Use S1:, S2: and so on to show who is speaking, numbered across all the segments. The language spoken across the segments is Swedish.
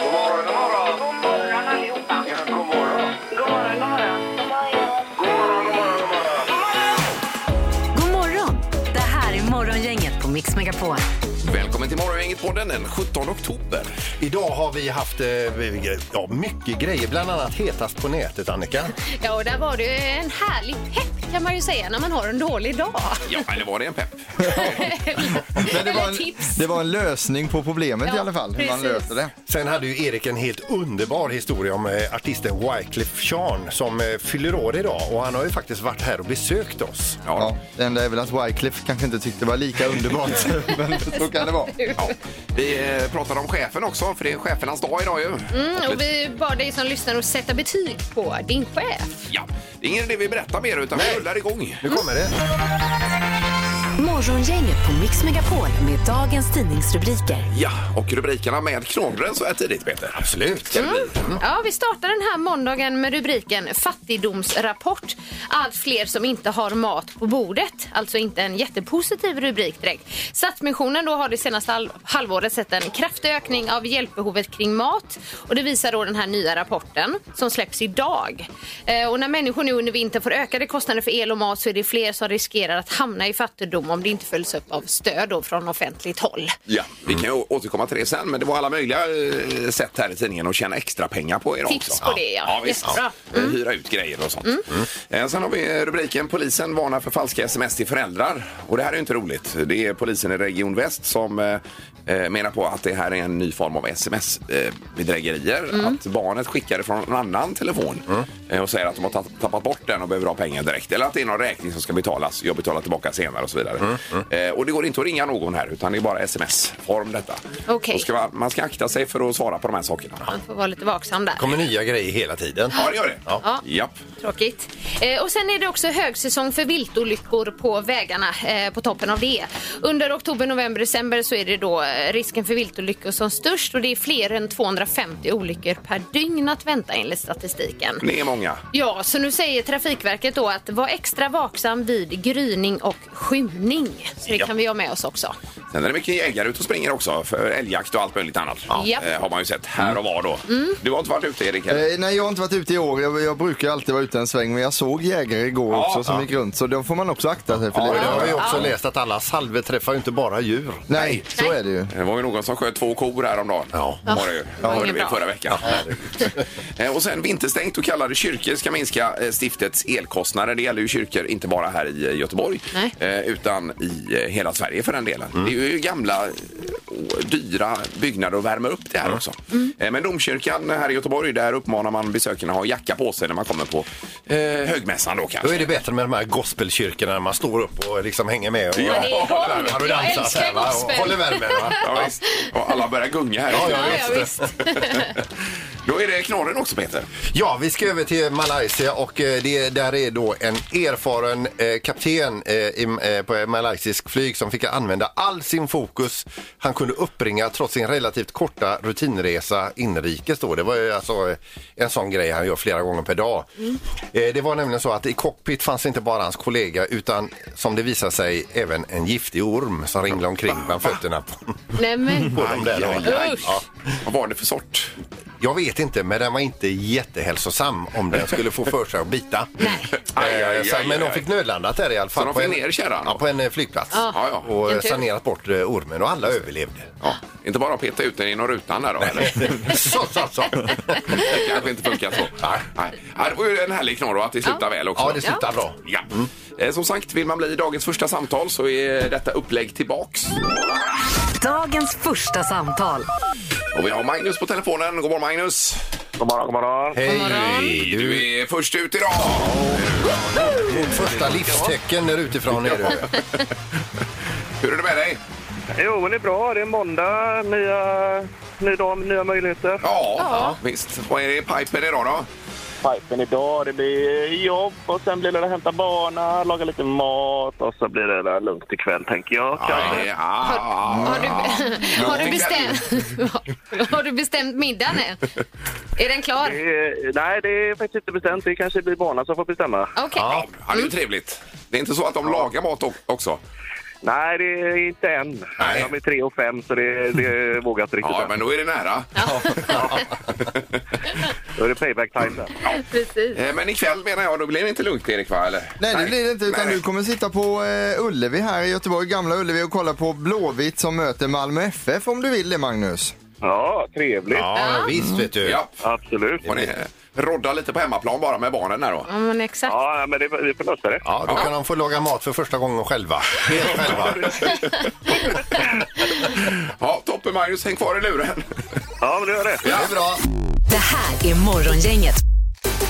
S1: God morgon, god morgon.
S2: God morgon allihopa.
S1: Ja, god morgon.
S2: God morgon, god morgon.
S1: God morgon, god morgon, god morgon.
S3: God morgon! Det här är Morgongänget på Mix Megapol.
S4: Välkommen till Morgongänget-podden den 17 oktober.
S5: Idag har vi haft eh, ja, mycket grejer, bland annat hetast på nätet, Annika.
S6: Ja, och där var det ju en härlig pepp kan man ju säga när man har en dålig dag.
S4: Ja, eller var det en pepp?
S7: Men det, var
S6: Eller
S7: en,
S6: tips.
S7: det var en lösning på problemet i
S6: Ja,
S7: alla fall, hur man
S6: precis.
S7: löser det.
S5: Sen hade ju Erik en helt underbar historia om eh, artisten Wyclef Jean som eh, fyller år idag och han har ju faktiskt varit här och besökt oss.
S7: Ja, det enda är väl att Wyclef kanske inte tyckte det var lika underbart, men så kan det vara.
S4: Ja. Vi eh, pratade om chefen också, för det är chefernas dag idag ju.
S6: Mm, och
S4: lite-
S6: vi bad dig som lyssnar att sätta betyg på din chef.
S4: Ja, det är ingen idé vi berättar mer utan vi rullar igång.
S5: Nu kommer det.
S4: Mm.
S3: Morgongänget på Mix Megapol med dagens tidningsrubriker.
S4: Ja, och rubrikerna med knorren så här tidigt, Peter. Absolut.
S5: Mm.
S4: Ska det bli?
S6: Ja, vi startar den här måndagen med rubriken Fattigdomsrapport. Allt fler som inte har mat på bordet. Alltså inte en jättepositiv rubrik direkt. Stadsmissionen då har det senaste hal- halvåret sett en kraftig ökning av hjälpbehovet kring mat. Och det visar då den här nya rapporten som släpps idag. Eh, Och när människor nu under vintern får ökade kostnader för el och mat så är det fler som riskerar att hamna i fattigdom om det inte följs upp av stöd då från offentligt håll.
S4: Ja, vi kan ju å- återkomma till det sen, men det var alla möjliga eh, sätt här i tidningen att tjäna extra pengar på idag
S6: Tips
S4: också.
S6: på det, ja.
S4: ja visst.
S6: Jättebra.
S4: Ja. Eh, Hyra ut grejer och sånt. Eh, Sen har vi rubriken Polisen varnar för falska sms till föräldrar. Och det här är ju inte roligt. Det är polisen i Region Väst som eh, eh, menar på att det här är en ny form av sms-bedrägerier. Att barnet skickar det från en annan telefon eh, och säger att de har tapp- tappat bort den och behöver ha pengar direkt. Eller att det är någon räkning som ska betalas. Jag betalar tillbaka senare och så vidare. Eh, Och det går inte att ringa någon här utan det är bara sms-form detta.
S6: Okej.
S4: Och Ska man, man ska akta sig för att svara på de här sakerna.
S6: Man får vara lite vaksam där.
S5: kommer nya grejer hela tiden.
S4: Ja, det gör det.
S5: Ja.
S4: Japp.
S6: Tråkigt. Eh, och sen är det också högsäsong för viltolyckor på vägarna eh, på toppen av det. Under oktober, november, december så är det då eh, risken för viltolyckor som störst och det är fler än 250 olyckor per dygn att vänta enligt statistiken.
S4: Det är många.
S6: Ja, så nu säger Trafikverket då att var extra vaksam vid gryning och skymning. Så det
S4: Ja.
S6: kan vi ha med oss också.
S4: Sen är det mycket jägare ute och springer också för älgjakt och allt möjligt annat.
S6: Japp.
S4: Eh, har man ju sett här och var då. Du har inte varit ute Erik? eller?
S7: Eh, nej, jag har inte varit ute i år. Jag, jag brukar alltid vara ute en sväng, men jag såg jägare igår
S4: Ja,
S7: också som
S4: ja.
S7: gick runt, så de får man också akta sig för.
S5: Och
S7: lite.
S5: det har vi också läst att alla salver träffar ju inte bara djur.
S7: Nej, så är det ju.
S4: Det var ju någon som sköt två kor häromdagen.
S5: Ja.
S4: Var det ju.
S6: Ja.
S4: Hörde
S6: Inget
S4: vi
S6: bra.
S4: förra veckan. Eh, och sen vinterstängt och kallare kyrkor ska minska eh, stiftets elkostnader. Det gäller ju kyrkor inte bara här i eh, Göteborg
S6: Nej.
S4: eh, utan i eh, hela Sverige för den delen.
S5: Mm.
S4: Det är ju gamla eh, och dyra byggnader att värma upp det här
S5: Mm.
S4: också. Eh, Men domkyrkan här i Göteborg, där uppmanar man besökarna att ha jacka på sig när man kommer på eh, högmässan då kanske.
S5: Då är det bättre med de här gospelkyrkorna när man står upp och liksom hänger med. Och,
S4: Ja, det är
S5: håller värmen.
S6: igång.
S5: Har du
S6: Jag
S5: dansat
S6: älskar
S5: här, va? Och
S6: gospel.
S5: Håller värmen va?
S4: Ja, visst. Och alla börjar gunga här.
S5: Ja,
S6: Ja,
S5: visst.
S6: ja, visst.
S4: Då är det knorren också, Peter.
S5: Ja, vi ska över till Malaysia och eh, det, där är då en erfaren eh, kapten eh, i, eh, på en malaysisk flyg som fick använda all sin fokus han kunde uppbringa trots sin relativt korta rutinresa inrikes då. Det var ju alltså eh, en sån grej han gör flera gånger per dag.
S4: Mm.
S5: Eh, det var nämligen så att i cockpit fanns inte bara hans kollega utan som det visar sig även en giftig orm som ringlade omkring bland fötterna på,
S6: Nej, men...
S5: på dem där. då.
S4: Aj, aj, aj.
S6: Usch.
S4: Ja. Vad var det för sort?
S5: Jag vet inte, men den var inte jättehälsosam om den skulle få för sig att bita.
S4: Aj, aj,
S5: Eh, så-
S4: aj,
S5: men de
S4: aj.
S5: fick nödlandat där i alla fall.
S4: de
S5: på
S4: fick
S5: en-
S4: ner kärran?
S5: Ja, på en eh, flygplats.
S4: Ja, ja.
S5: Och eh,
S6: Vilken tur.
S5: sanerat bort eh, ormen och alla överlevde.
S4: Ja. Inte bara peta ut den genom rutan där då, eller?
S5: så, så, så.
S4: Det kanske inte funkar så.
S5: Nej.
S4: Nej. Ja, det var ju en härlig knorr och att det slutar väl också.
S5: Ja, det slutar bra.
S4: Ja. Eh, Som sagt, vill man bli dagens första samtal så är detta upplägg tillbaks.
S3: Dagens första samtal.
S4: Och vi har Magnus på telefonen. God morgon Magnus!
S8: God morgon, god morgon.
S5: Hej! Du
S4: Du är först ut idag!
S5: är vårt första livstecken där utifrån. Är du.
S4: Hur är det med dig?
S8: Jo, men det är bra. Det är måndag. Nya, ny dag, nya möjligheter.
S4: Ja, visst. Vad är det i pipen idag då?
S8: Pipen idag, det blir jobb och sen blir det att hämta barnen, laga lite mat och så blir det där lugnt ikväll tänker jag. kanske.
S4: Ja, ah. ja,
S6: Har du, har, du
S4: Någonting
S6: bestämt, har du bestämt middagen än? Är den klar?
S8: Det är- Eh, Nej, det är faktiskt inte bestämt. Det kanske blir barnen som får bestämma.
S6: Okej.
S4: Ja, det är ju trevligt. Det är inte så att de lagar mat o- också?
S8: Nej, det är inte än.
S4: Nej.
S8: De är tre och fem, så det, det vågar jag inte riktigt.
S4: Ja,
S8: än.
S4: men då är det nära.
S8: Då är det payback time sen.
S6: Precis.
S4: Eh, Men ikväll menar jag, då blir det inte lugnt Erik va? Eller?
S7: Nej, det blir det inte. Utan
S4: Nej.
S7: du kommer sitta på eh, Ullevi här i Göteborg, gamla Ullevi och kolla på Blåvitt som möter Malmö FF om du vill det, Magnus.
S8: Ja, trevligt.
S5: Ja, visst vet du.
S4: Ja,
S8: Absolut.
S4: får ni eh, rodda lite på hemmaplan bara med barnen där då.
S6: Ja, men exakt.
S8: Ja, men det, vi får lösa det.
S5: Ja, då kan de få laga mat för första gången själva. Helt själva.
S4: Ja, toppen Magnus, häng kvar i luren.
S8: Ja, men det gör det.
S7: Det är bra.
S3: Det här är Morgongänget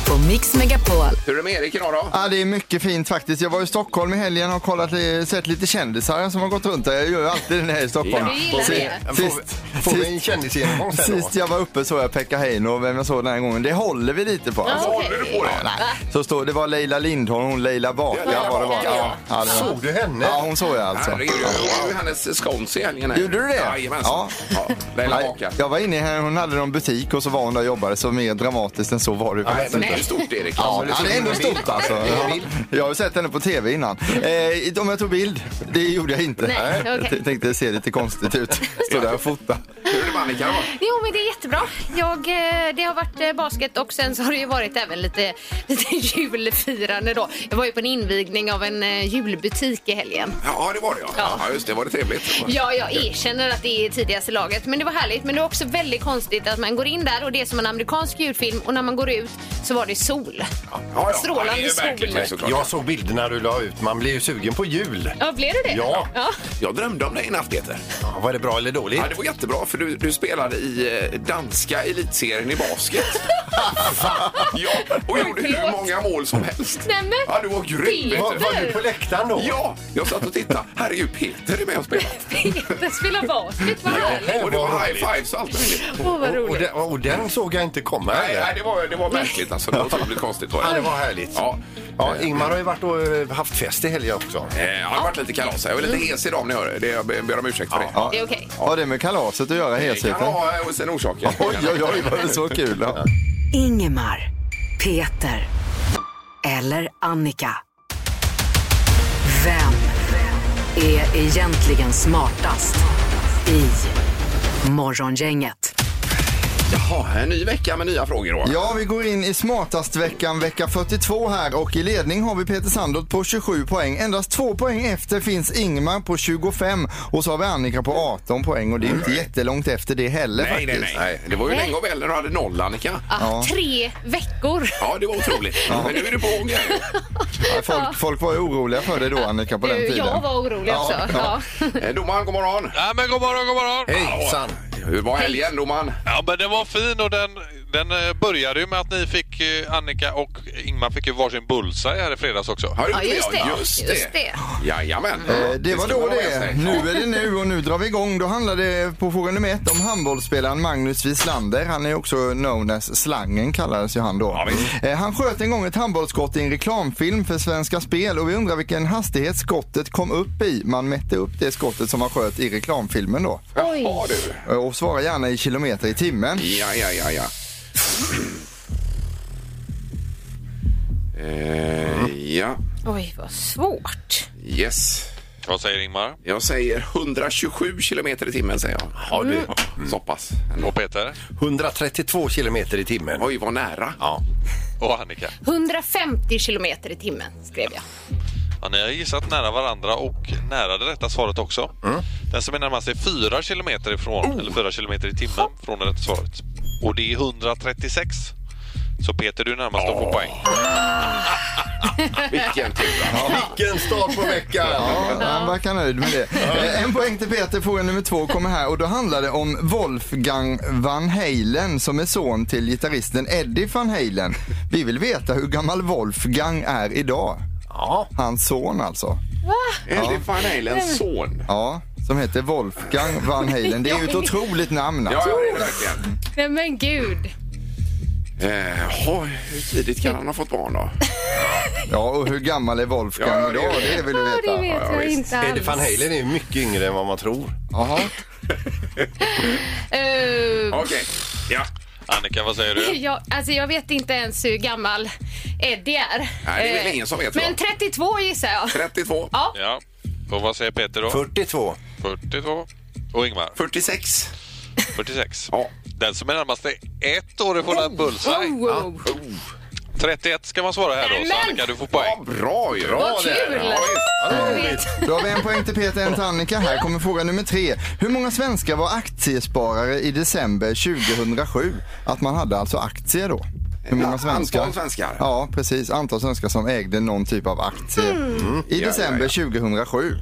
S3: på Mix Megapol.
S4: Hur är det med Erik idag då?
S7: Ja, det är mycket fint faktiskt. Jag var i Stockholm i helgen och kollat, eh, sett lite kändisar som har gått runt där. Jag gör ju alltid den här i Stockholm.
S6: Ja, du gillar det.
S7: Sist,
S5: Får vi en
S7: sist,
S5: kändisgenomgång sen då?
S7: sist jag var uppe såg jag Pekka Heino och vem jag såg den här gången. Det håller vi lite på. Alltså,
S6: Ja.
S4: Vad håller du på det?
S7: Så står det var Leila Lindholm, hon Leila Baka
S4: Leila
S7: var det var.
S4: Baka, ja.
S7: Ja, det var.
S5: Såg du henne?
S7: ja, hon såg jag alltså.
S4: Herregud, jag gjorde ju hennes scones i helgen. här.
S7: Gjorde du det?
S4: Jajamensan. Ja. Leila
S7: Nej,
S4: Baka.
S7: jag var inne här, hon hade någon butik och så var hon där och jobbade så mer dramatiskt än så var det ju
S4: Nej,
S7: faktiskt
S4: men
S7: inte.
S4: det är ju stort Erik.
S7: Ja,
S4: Alltså,
S7: det är ändå stort alltså. Ja. Jag har ju sett henne på tv innan. Eh, om jag tog bild, det gjorde jag inte.
S6: Nej, okej.
S7: Jag tänkte det ser lite konstigt ut. Stå där och fota.
S4: Hur är det med Annika då?
S6: Jo, men det är jättebra. Jag, eh, det har varit eh, basket och sen så har det ju varit även lite, lite julfirande då. Jag var ju på en invigning av en eh, julbutik i helgen.
S4: Ja, det var det ja.
S6: Ja.
S4: Ja, just det. Var det trevligt?
S6: Ja, jag erkänner att det är tidigaste laget, men det var härligt. Men det var också väldigt konstigt att man går in där och det är som en amerikansk julfilm och när man går ut så var det sol.
S4: Ja, ja.
S6: Strålande
S4: Ja, det är
S6: sol.
S4: verkligen det, såklart.
S5: Jag såg bilderna du la ut. Man blir ju sugen på jul.
S6: Ja, blev det det?
S5: Ja.
S4: Jag drömde om dig i natt Peter.
S5: Ja, var det bra eller dåligt?
S4: Ja, det var jättebra för du, du spelade i eh, danska elitserien i basket. ja, och gjorde hur
S6: Förlåt.
S4: många mål som helst.
S6: Nej, men-
S4: Ja, du var grym
S6: Peter.
S5: Var,
S4: Peter.
S5: var du på läktaren då?
S4: Ja, jag satt och tittade. Herregud, Peter är med och spelar.
S6: Peter spelar basket, vad härligt.
S4: Och det var high fives och allt möjligt.
S6: Åh, vad
S5: Och, och,
S6: roligt.
S5: den, och den såg jag inte komma.
S4: Nej,
S5: eller?
S4: nej det, var, det var märkligt alltså. Det var otroligt konstigt. Var
S5: Ja, det
S4: det.
S5: var härligt.
S4: Ja.
S5: Ja, Ingmar har ju varit och eh, haft fest i helgen också.
S4: Eh, ja, det har varit lite kalas här. Jag är lite hes idag om ni hör det. det. Jag ber om ursäkt för det.
S7: Ja.
S6: Det är okej.
S7: Vad har det med kalaset att göra,
S4: Det kan
S7: helheten? Oj,
S4: ha eh, sin orsak.
S7: oj, oj, var det så kul? Ja.
S3: Ingemar, Peter eller Annika. Vem är egentligen smartast i Morgongänget?
S4: Jaha, en ny vecka med nya frågor då.
S7: Ja, vi går in i smartast-veckan, vecka 42 här och i ledning har vi Peter Sandot på 27 poäng. Endast två poäng efter finns Ingmar på 25 och så har vi Annika på 18 poäng och det är inte jättelångt efter det heller
S4: Nej,
S7: faktiskt.
S4: nej, nej, nej. Det var ju länge och väl när du hade noll, Annika.
S6: Ah, tre veckor.
S4: Ja, det var otroligt. Men nu är du på gång igen.
S7: Ja, Folk, folk var ju oroliga för det då, Annika, på den
S6: Du,
S7: tiden.
S6: jag var orolig
S7: Ja,
S6: också.
S7: ja.
S6: Ja.
S4: Eh, Domaren, god morgon.
S9: Ja, men god morgon, god morgon.
S5: Hejsan!
S4: Hur var helgen, domaren?
S9: Ja, men den var fin och den, den eh, började ju med att ni fick, eh, Annika och Ingmar fick ju varsin bullseye här i fredags också.
S4: Har du
S6: Ja,
S4: gjort
S6: just det.
S4: Ja, Just
S6: Just
S4: det.
S6: det.
S4: Jajamän.
S7: Eh, Det var
S4: ska
S7: då
S4: man ha med
S7: det.
S4: sig.
S7: Nu är det nu och nu drar vi igång. Då handlar det på fråga nummer ett om handbollsspelaren Magnus Wislander. Han är också known as Slangen kallades ju han då. Eh, Han sköt en gång ett handbollsskott i en reklamfilm för Svenska Spel och vi undrar vilken hastighet skottet kom upp i. Man mätte upp det skottet som han sköt i reklamfilmen då.
S4: Jaha, du.
S7: Eh, Och svara gärna i kilometer i timmen.
S4: Ja, ja, ja, ja. Eh, ja,
S6: Oj, vad svårt.
S4: yes.
S9: Vad säger Ingmar?
S4: Jag säger 127 kilometer i timmen säger jag. Ja, du.
S5: Mm.
S4: Så pass. ändå.
S9: Och Peter?
S5: 132 kilometer i timmen.
S4: Oj, vad nära.
S5: Ja.
S9: Och Annika?
S6: 150 kilometer i timmen skrev jag.
S9: Ja, ni har gissat nära varandra och nära det rätta svaret också. Den som är närmast är 4 kilometer ifrån, eller 4 kilometer i timmen från det rätta svaret. Och det är 136. Så Peter, du är närmast att få poäng.
S4: Vilken tur.
S5: Vilken start på veckan!
S7: Ja, han verkar nöjd med det. Eh, En poäng till Peter, fråga nummer två kommer här och då handlar det om Wolfgang Van Halen som är son till gitarristen Eddie Van Halen. Vi vill veta hur gammal Wolfgang är idag.
S5: Ja.
S7: Hans son alltså.
S4: Eddie Van Halens son.
S7: Ja, som heter Wolfgang Van Halen. Det är ju ett otroligt namn
S4: Ja,
S7: alltså.
S4: ja, det är det verkligen.
S6: Nej men gud.
S4: Eh, oj, hur tidigt kan han ha fått barn då?
S7: Ja, och hur gammal är
S4: Ja,
S7: Wolfgang
S4: ja, det
S7: idag?
S4: är det.
S7: Det vill
S6: Ja,
S7: vi
S6: det
S7: veta.
S6: vet
S4: ja,
S6: jag
S4: visst.
S6: inte
S5: Eddie
S6: alls.
S5: van Halen är ju mycket yngre än vad man tror.
S7: Jaha.
S6: Eh,
S4: Okej. Ja.
S9: Annika, vad säger du?
S6: jag, alltså jag vet inte ens hur gammal Eddie är.
S4: Nej, det är väl
S6: Eh,
S4: ingen som vet, va?
S6: Men 32 gissar jag.
S4: 32.
S6: Ja,
S9: Ja. Och vad säger Peter då?
S5: 42.
S9: 42. Och Ingmar?
S4: 46.
S9: 46.
S4: Ja.
S9: Den som är närmast är ett år ifrån en bullseye.
S6: Oh, oh.
S9: 31 ska man svara här då, så
S6: Nämen!
S9: Annika du får poäng.
S4: Ja, bra ju!
S6: Vad
S5: det är
S6: kul!
S5: det. Ja,
S6: Jag vet.
S7: Då har vi en poäng till Peter, en till Annika. Här kommer fråga nummer tre. Hur många svenskar var aktiesparare i december 2007? Att man hade alltså aktier då. Hur många
S4: Ja,
S7: svenskar?
S4: antal svenskar.
S7: Ja, precis. Antal svenskar som ägde någon typ av aktie i
S4: Mm. Ja, Mm.
S7: december 2007.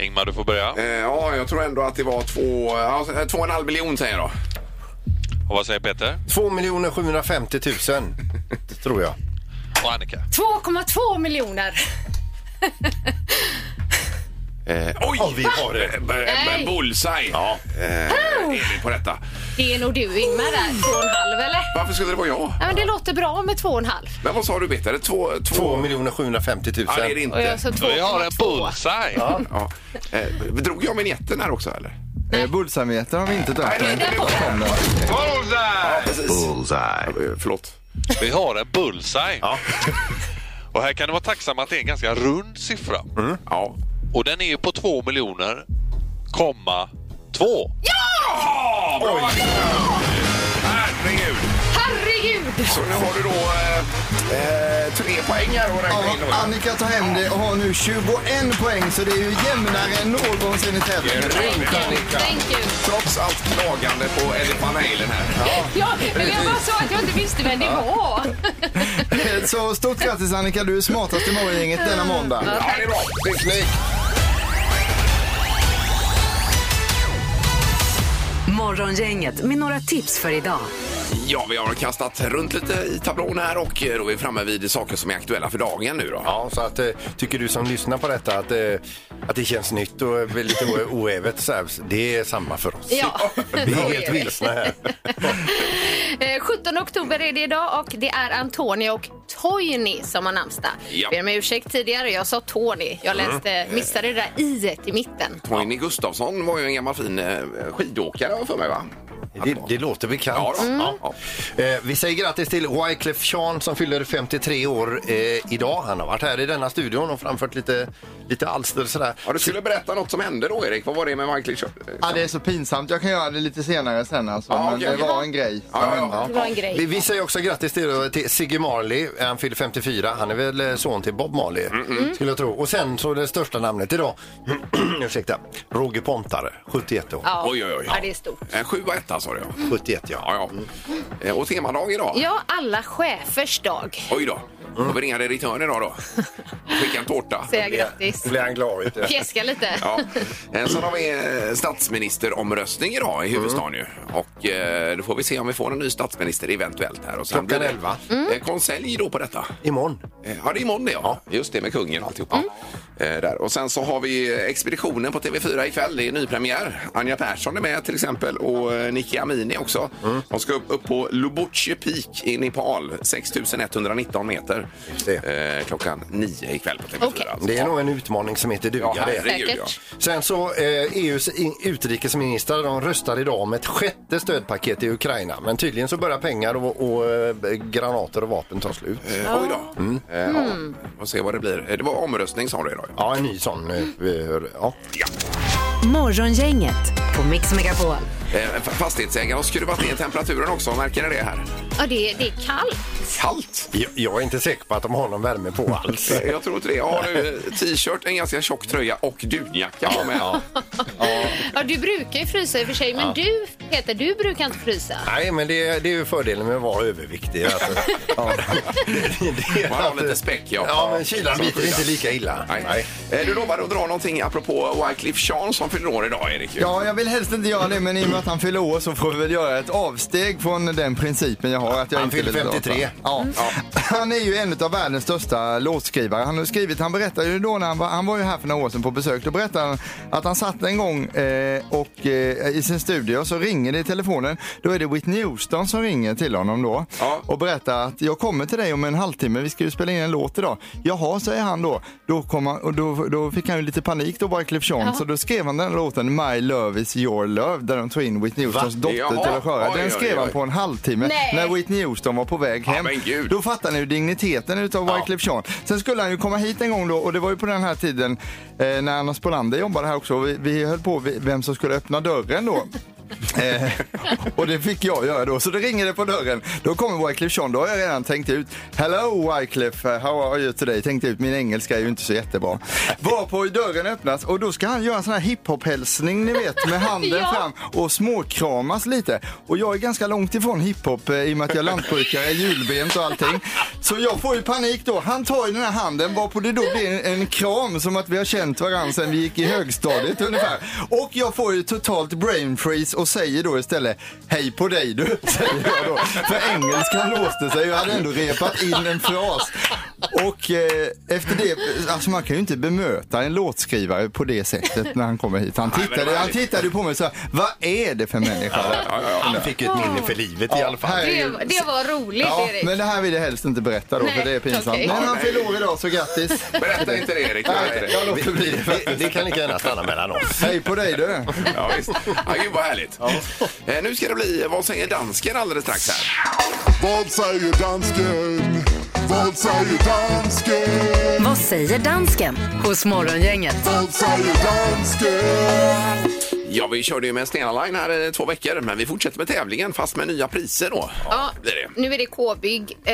S9: Ingmar du får börja.
S4: Eh, Ja, jag tror ändå att det var två, ja, två och en halv miljon säger jag då.
S9: Och vad säger Peter?
S5: 2 750 000. Tror jag.
S9: Och Annika?
S6: 2,2 miljoner.
S4: Eh, oj! vi har det!
S6: Nej.
S4: Bullseye! Ja. Eh, är vi på detta.
S6: Det är nog du Ingmar där, två och en halv eller?
S4: Varför skulle det vara jag?
S6: Ja, men det låter bra med två och en halv.
S4: Men vad sa du Peter? Två... två...
S5: 2 750 000.
S4: Ja, det är det
S6: Och
S4: inte.
S6: jag sa två.
S9: Jag har en bullseye!
S4: Ja. Eh, drog jag vinjetten här också eller?
S7: Eh, Bullsametern har vi inte döpt
S4: Nej,
S7: än.
S4: nej, nej.
S7: Kom den.
S9: Bullseye!
S4: Precis. Bullseye. eh, Förlåt.
S9: Vi har en bullseye. Och här kan du vara tacksam att det är en ganska rund siffra.
S4: Ja.
S9: Och den är ju på 2 miljoner, komma 2.
S4: Ja! Bra! Herregud!
S6: Herregud!
S4: Så nu har du då eh, eh, tre poäng här och räkna
S7: Ja,
S4: in. dem.
S7: Annika tar hem det och har nu 21 poäng så det är ju jämnare än någonsin i tävlingen.
S6: Thank you. Thank you.
S4: Trots allt klagande på Eddie Van Halen här.
S6: Ja, men jag bara sa att jag inte visste vem det var.
S7: Eh, Så stort grattis Annika, du är smartast i morgongänget denna måndag.
S4: Ja, det är bra. Snyggt.
S3: Morgongänget med några tips för idag.
S4: Ja, vi har kastat runt lite i tablån här och eh, då är vi framme vid saker som är aktuella för dagen nu då.
S5: Ja, så att, eh, tycker du som lyssnar på detta att, eh, att det känns nytt och eh, lite o- oävet så här, det är samma för oss.
S6: Ja,
S5: Vi
S6: så
S5: är
S6: är
S5: helt
S6: det.
S5: vilsna här.
S6: Eh, 17 oktober är det idag och det är Antonio och Toini som har namnsdag.
S4: Ja.
S6: Jag ber om ursäkt tidigare, jag sa Tony. Jag läste, missade det där i i mitten.
S4: Tony Gustafsson var ju en gammal fin eh, skidåkare har jag för mig va?
S5: Det, det låter bekant.
S4: Ja, då. Ja, ja.
S5: Eh, Vi säger grattis till Wyclef Jean som fyller 53 år eh, idag. Han har varit här i denna studion och framfört lite, lite alster sådär.
S4: Ja, du skulle berätta något som hände då Erik. Vad var det med Michael Kör-
S7: Ja, det är så pinsamt. Jag kan göra det lite senare sen alltså.
S4: Ja,
S7: men
S4: okej,
S7: det
S4: okej.
S7: var en grej.
S4: Ja,
S7: som
S4: ja,
S7: hände.
S4: ja.
S6: Det var en
S5: Vi,
S6: grej.
S5: vi säger också grattis till, eh, till Sigge Marley. Han fyller 54. Han är väl eh, son till Bob Marley,
S6: Mm.
S5: skulle jag tro. Och sen så det största namnet idag, ursäkta, Roger Pontare, 71 år.
S6: Ja.
S4: Oj, oj, oj.
S6: ja, det är stort.
S4: Eh, Sju och etta sa du ja.
S5: 71,
S4: Ja, ja. Eh, Och temadag idag.
S6: Ja, alla chefers dag.
S4: Oj då. Får vi ringa redaktören idag då? Skicka en tårta.
S6: Säga grattis.
S5: Blir han glad? vet du.
S6: Fjäska lite.
S4: Ja. Eh, Sen har vi eh, statsministeromröstning idag i huvudstaden
S5: Mm.
S4: ju. Och eh, då får vi se om vi får en ny statsminister eventuellt här. Och sen
S5: Klockan
S4: blir det-
S5: elva. Mm.
S4: Eh, Konselj då på detta.
S5: Imorgon.
S4: Eh, Ja, det är imorgon det ja. Just det med kungen och alltihopa.
S5: Mm.
S4: Eh, där. Och sen så har vi eh, Expeditionen på TV4 ikväll. Det är nypremiär. Anja Persson är med till exempel och eh, Nicky Amini också.
S5: Mm.
S4: De ska upp, upp på Lubotje Peak i Nepal. 6119 meter.
S5: Just
S4: Eh, klockan nio ikväll på TV4.
S6: Okej.
S4: alltså.
S5: Det är nog en utmaning som inte dugar.
S4: Ja,
S5: det.
S4: herregud ja.
S6: Säkert.
S5: Sen så eh, EUs in- utrikesministrar de röstar idag om ett sjätte stödpaket i Ukraina. Men tydligen så börjar pengar och, och eh, granater och vapen ta slut.
S4: Eh, Oj då.
S7: Mm.
S4: Eh, ja. Vi får se vad det blir. Eh, Det var omröstning sa du idag. ja.
S5: Ja, en ny sån. eh, eh, Ja.
S3: Morgongänget på Mix Megapol.
S4: Eh, fa- Fastighetsägaren har skruvat ner temperaturen också. Märker ni det här?
S6: Ja, det, det är kallt.
S4: Kallt!
S5: Jag, jag är inte säker på att de har någon värme på alls.
S4: Eh, Jag tror inte det. Jag har nu eh, t-shirt, en ganska tjock tröja och dunjacka på mig.
S6: Ja, du brukar ju frysa i och för sig, men du Peter, du brukar inte frysa.
S5: Nej, men det, det är ju fördelen med att vara överviktig. Alltså. Ja. Det- det är
S4: Man har
S5: att-
S4: lite späck, ja.
S5: Ja, men kylan
S4: Som
S5: biter
S4: skyddar.
S5: inte lika illa.
S4: Nej. Eh, Du lovade att dra någonting apropå Wycliffe Jean som fyller år idag, Erik. ju.
S7: Ja, jag vill helst inte göra det, men i och med att han fyller år så får vi väl göra ett avsteg från den principen jag har. Att jag
S5: Han
S7: inte
S5: fyller
S7: vill prata.
S5: 53.
S7: Ja.
S4: Mm.
S7: Han är ju en av världens största låtskrivare. Han har skrivit, han berättade ju då när han var, han var ju här för några år sedan på besök, då berättade han att han satt en gång eh, och, eh, i sin studio och så ringer det i telefonen. Då är det Whitney Houston som ringer till honom då
S4: Ja.
S7: och berättar att jag kommer till dig om en halvtimme, vi ska ju spela in en låt idag. Jaha, säger han då. Då, kom han, och då, då fick han ju lite panik då, Wyclef Jean, så då skrev han den här låten My Love Is Is Your Love där de tog in Whitney Houstons
S4: Va?
S7: dotter
S4: Jaha.
S7: till att sköra.
S4: Oj, oj,
S7: Den skrev han
S4: oj.
S7: på en halvtimme
S6: Nej.
S7: när Whitney Houston var på väg hem.
S4: men gud.
S7: Då fattar ni ju digniteten utav Wyclef Jean. Sen skulle han ju komma hit en gång då och det var ju på den här tiden eh, när Anna Spolander jobbade här också. Vi, vi höll på vi- vem som skulle öppna dörren då. Eh, och det fick jag göra då, så det ringer det på dörren. Då kommer Wyclef Jean, då har jag redan tänkt ut. Hello Wyclef, eh, how are you today? Tänkte ut, min engelska är ju inte så jättebra. Var på dörren öppnas och då ska han göra en sån här hiphop-hälsning ni vet med handen
S6: Ja.
S7: fram och småkramas lite. Och jag är ganska långt ifrån hiphop eh, i och med att jag är lantbrukare, julbent och allting. Så jag får ju panik då. Han tar ju den här handen varpå det då blir en, en kram som att vi har känt varandra sedan vi gick i högstadiet ungefär. Och jag får ju totalt brain freeze och säger då istället Hej på dig du, säger jag då. För engelskan låste sig. Jag hade ändå repat in en fras. Och eh, efter det, alltså man kan ju inte bemöta en låtskrivare på det sättet när han kommer hit. Han
S4: men det
S7: tittade,
S4: var
S7: han
S4: lite-
S7: tittade ju på mig och sa, vad är det för människa?
S4: Ja, ja, ja.
S5: Han fick ett minne för livet i alla fall.
S7: Här är
S6: Det,
S7: ju-
S6: det var roligt,
S7: Ja,
S6: Erik.
S7: men det här vill jag helst inte berätta då,
S6: Nej,
S7: för det är pinsamt.
S6: okej.
S7: Men han fyller år idag, så grattis.
S4: Berätta inte det Erik. Berätta
S7: Nej,
S4: inte
S7: jag
S4: det.
S7: låter bli det.
S5: Det, det kan lika gärna stanna mellan oss.
S7: Hej på dig du.
S4: Ja, visst. Ja, gud vad härligt. Eh, Nu ska det bli Vad säger dansken alldeles strax här.
S10: Vad säger dansken? Vad säger dansken?
S3: Vad säger dansken hos Morgongänget?
S10: Vad säger dansken?
S4: Ja, vi körde ju med Stena Line här i två veckor, men vi fortsätter med tävlingen fast med nya priser då.
S6: Ja,
S4: blir det.
S6: nu är det K-bygg, eh,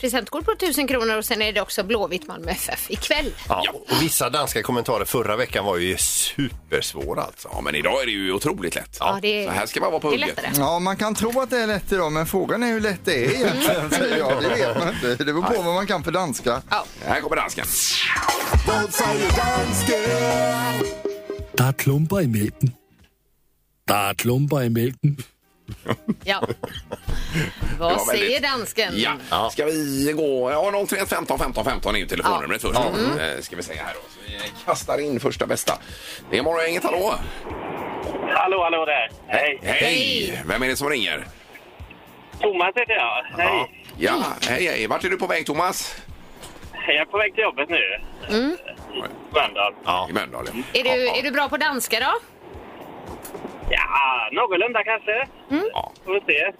S6: presentkort på 1000 kronor och sen är det också Blåvitt Malmö FF ikväll.
S5: Ja. och Vissa danska kommentarer förra veckan var ju supersvåra alltså.
S4: Ja, men idag är det ju otroligt lätt.
S6: Ja, det-
S4: Så här ska man vara på
S6: Det är
S4: hugget.
S6: lättare.
S7: Ja, man kan tro att det är lätt idag, men frågan är hur lätt det är egentligen, säger jag. Det vet man inte. Det beror på vad man kan för danska.
S4: Här kommer dansken.
S10: Vad säger dansken?
S11: Der er klumper i mælken. Der er klumper i mælken.
S6: Ja.
S4: Det
S6: Vad
S4: var väldigt-
S6: säger dansken?
S4: Ja. Ska vi gå... Ja, 031 15 15 15 är ju telefonnumret först. Mm. Ska vi säga här då. Så vi kastar in första bästa. Det är Morgongänget, hallå!
S8: Hallå, hallå där. Hej.
S4: Hej! Vem är det som ringer?
S8: Thomas heter jag. Hej.
S4: Ja, hej, hej. Vart är du på väg, Thomas?
S8: Jag är på väg till jobbet nu.
S2: Mm.
S8: I Mölndal.
S4: I Mölndal, ja.
S6: Är, du, är du bra på danska då?
S8: Ja, någorlunda kanske.
S2: Mm.
S4: Ja.
S8: Får vi se.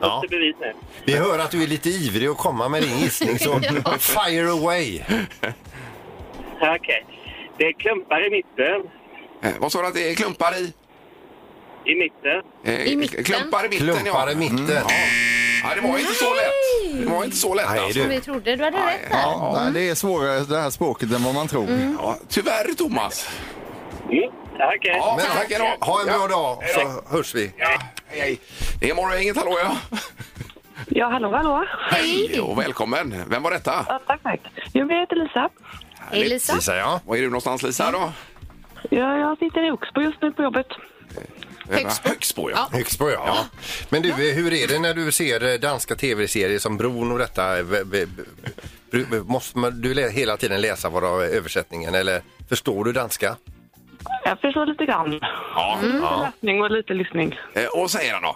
S5: Ja.
S8: Upp till bevis nu.
S5: Vi hör att du är lite ivrig att komma med din gissning så fire away.
S8: Okej. Det är klumpar i mitten.
S4: Eh, vad sa du att det är klumpar i?
S8: I mitten.
S4: Eh,
S6: I mitten.
S4: Klumpar i mitten,
S5: Klumpar
S4: ja.
S5: i mitten.
S4: Mm. ja. Det var inte så lätt. Det var inte så lätt
S5: Nej,
S4: alltså.
S5: du.
S6: Vi trodde du hade rätt där.
S7: Ja, nej, det är svårare det här språket än vad man tror.
S5: Mm.
S4: Ja, tyvärr, Thomas.
S8: Mm. Okej.
S4: Ja,
S5: Men,
S4: tack.
S5: ha, ha en bra
S4: Ja.
S5: dag
S4: Hej då.
S5: så hörs vi.
S4: Ja, hej, hej. Det är Morgongänget, hallå ja.
S2: Ja, hallå, hallå.
S4: Hej och välkommen. Vem var detta?
S2: Ja, tack, tack. Jo, men jag heter Lisa.
S6: Hej Lisa.
S5: Lisa, ja.
S4: Var är du någonstans Lisa då?
S2: Ja, jag sitter i Oxbo just nu på jobbet.
S6: Högsbo.
S4: Högsbo ja.
S5: Högsbo, ja. Men du, eh, hur är det när du ser eh, danska tv-serier som Bron och detta? eh, v- v- bru- Måste man, du lä- hela tiden läsa vad av översättningen eller förstår du danska?
S2: Jag förstår lite grann.
S4: ja.
S2: Läsning och lite lyssning.
S4: Eh, Och vad säger han då?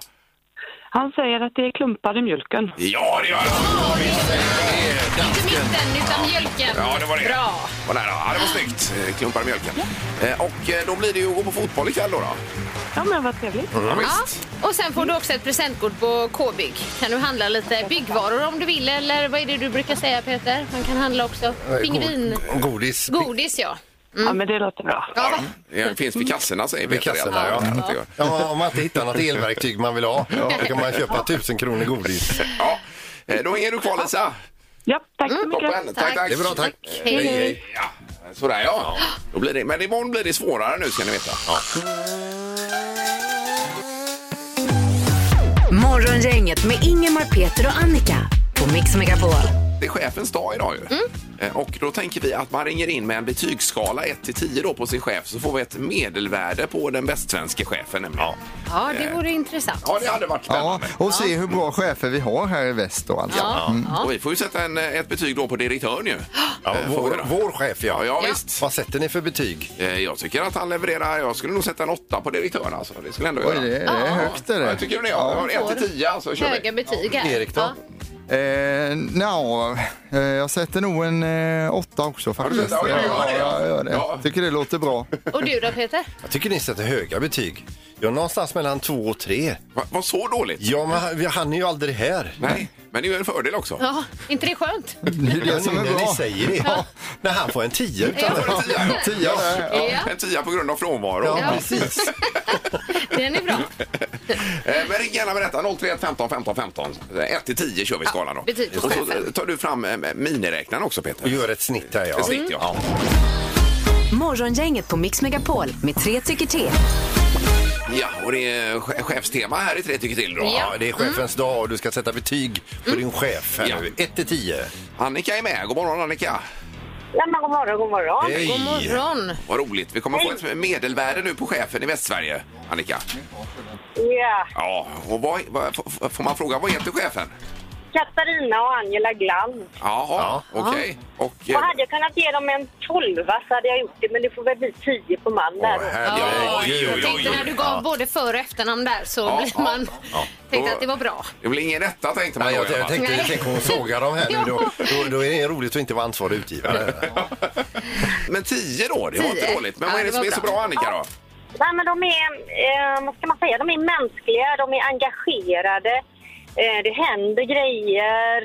S2: Han säger att det är klumpar i mjölken.
S4: Ja, det gör han!
S6: Inte mitten utan mjölken.
S4: Ja, det var det.
S6: Bra.
S4: Var nära. Ja, det var snyggt. Eh, Klumpar i mjölken. Eh, Och eh, då blir det ju att gå på fotboll ikväll då. då.
S2: Ja, men vad trevligt.
S4: Ja,
S6: Ja.
S4: visst.
S6: Och sen får du också ett presentkort på K-bygg. Kan du handla lite byggvaror om du vill eller vad är det du brukar säga Peter? Man kan handla också pingvin...
S5: God- Godis.
S6: Godis ja.
S2: Ja, men det låter bra.
S6: ja.
S4: Det Eh, finns vid kassorna säger
S5: Vid
S4: Peter i alla
S5: kassorna,
S4: fall.
S5: ja.
S4: Att det gör.
S5: Ja, om man inte hittar något elverktyg man vill ha, då kan man köpa tusen kronor godis.
S4: ja. Eh, Då hänger du kvar Lisa.
S2: Ja, tack
S8: Mm.
S2: så mycket.
S4: Toppen. Tack, tack.
S5: Det är bra, tack.
S6: Hej.
S4: Ja, sådär ja. Då blir det. Men imorgon blir det svårare nu ska ni veta.
S3: Morgongänget med Ingemar, Peter och Annika på Mix Megapol.
S4: Det är chefens dag idag ju.
S6: Mm.
S4: Eh, Och då tänker vi att man ringer in med en betygsskala 1 till 10 då på sin chef så får vi ett medelvärde på den västsvenske chefen nämligen.
S6: Ja, det vore intressant.
S4: Ja, det hade varit
S7: Ja,
S4: spännande.
S7: och se hur bra chefer vi har här i väst alltså. och allt.
S6: Ja.
S4: Och vi får ju sätta en, eh, ett betyg då på direktören ju.
S5: Ja,
S4: Eh, får vi
S5: vår,
S4: då.
S5: vår chef,
S4: Ja,
S5: ja.
S4: ja,
S6: Ja.
S4: visst.
S5: Vad sätter ni för betyg?
S4: Eh, Jag tycker att han levererar. Jag skulle nog sätta en åtta på direktören alltså. Det skulle jag ändå
S7: Oj,
S4: göra.
S7: det, det är högt är
S4: Ja,
S7: det.
S4: jag tycker det. Ja. 1 till 10 så alltså. kör vi.
S6: Höga betyg här.
S5: Erik då?
S6: Ja.
S7: Eh, Nja, eh, jag sätter nog en eh, åtta också faktiskt.
S5: sätter- ja, du gör det, ja.
S7: jag gör det.
S5: Ja.
S7: Tycker det låter bra.
S6: Och du då Peter?
S5: Jag tycker ni sätter höga betyg. Jag är någonstans mellan två och tre.
S4: Vad så dåligt?
S5: Ja, men han- han är ju aldrig här.
S4: Nej, men det är ju en fördel också.
S6: Ja, inte det skönt?
S7: Det är det som är
S5: när ni
S7: bra.
S5: säger det. När han får en tia utan
S6: Ja.
S5: att-
S7: Tia där.
S6: Ja,
S4: En tia på grund av frånvaro.
S5: Ja, precis.
S6: den är bra.
S4: Eh, Men ring gärna och berätta. 031 15 15 15. 1 till 10 kör vi skalan då.
S6: Ja, betyg på
S4: och så
S6: chefen.
S4: tar du fram eh, miniräknaren också
S5: Och
S4: Peter.
S5: gör ett snitt här, ja.
S4: Ett snitt, ja.
S3: Morgongänget på Mix Megapol med tre tycker till.
S4: ja, och det är che- chefstema här i Tre tycker till då.
S5: Ja, det är chefens dag och du ska sätta betyg på din chef här
S4: Ja.
S5: nu. 1 till 10.
S4: Annika är med. God morgon Annika.
S2: Ja, men god morgon, god morgon.
S5: Hej!
S6: God morgon.
S4: Vad roligt. Vi kommer få ett medelvärde nu på chefen i Västsverige, Annika.
S2: Ja,
S4: Ja, och vad, vad, f- f- får man fråga vad heter chefen?
S2: Katarina och Angela Glans.
S4: Jaha, okej. Och... eh,
S2: Och hade jag kunnat ge dem en tolva så hade jag gjort det, men det får väl bli tio på man
S5: Åh,
S2: där.
S5: herregud.
S6: Jag tänkte när du gav både för och efternamn där så
S4: Ja,
S6: blir
S4: ja,
S6: man...
S4: ja.
S6: Tänkte
S4: Då-
S6: att det var bra.
S4: Det blir ingen rätta tänkte man
S5: Nej,
S4: då,
S5: jag,
S4: i alla
S5: jag
S4: fall.
S5: tänkte, tänk om hon sågar dem här nu. Då, då, då är det roligt att inte vara ansvarig utgivare.
S4: Men 10 då, det var inte
S6: Tio.
S4: dåligt. Men
S6: Ja,
S4: vad är det
S6: det
S4: som
S6: var
S4: är så
S6: bra.
S4: bra Annika då?
S2: Nej, men de är, eh, vad ska man säga, de är mänskliga, de är engagerade, eh, det händer grejer.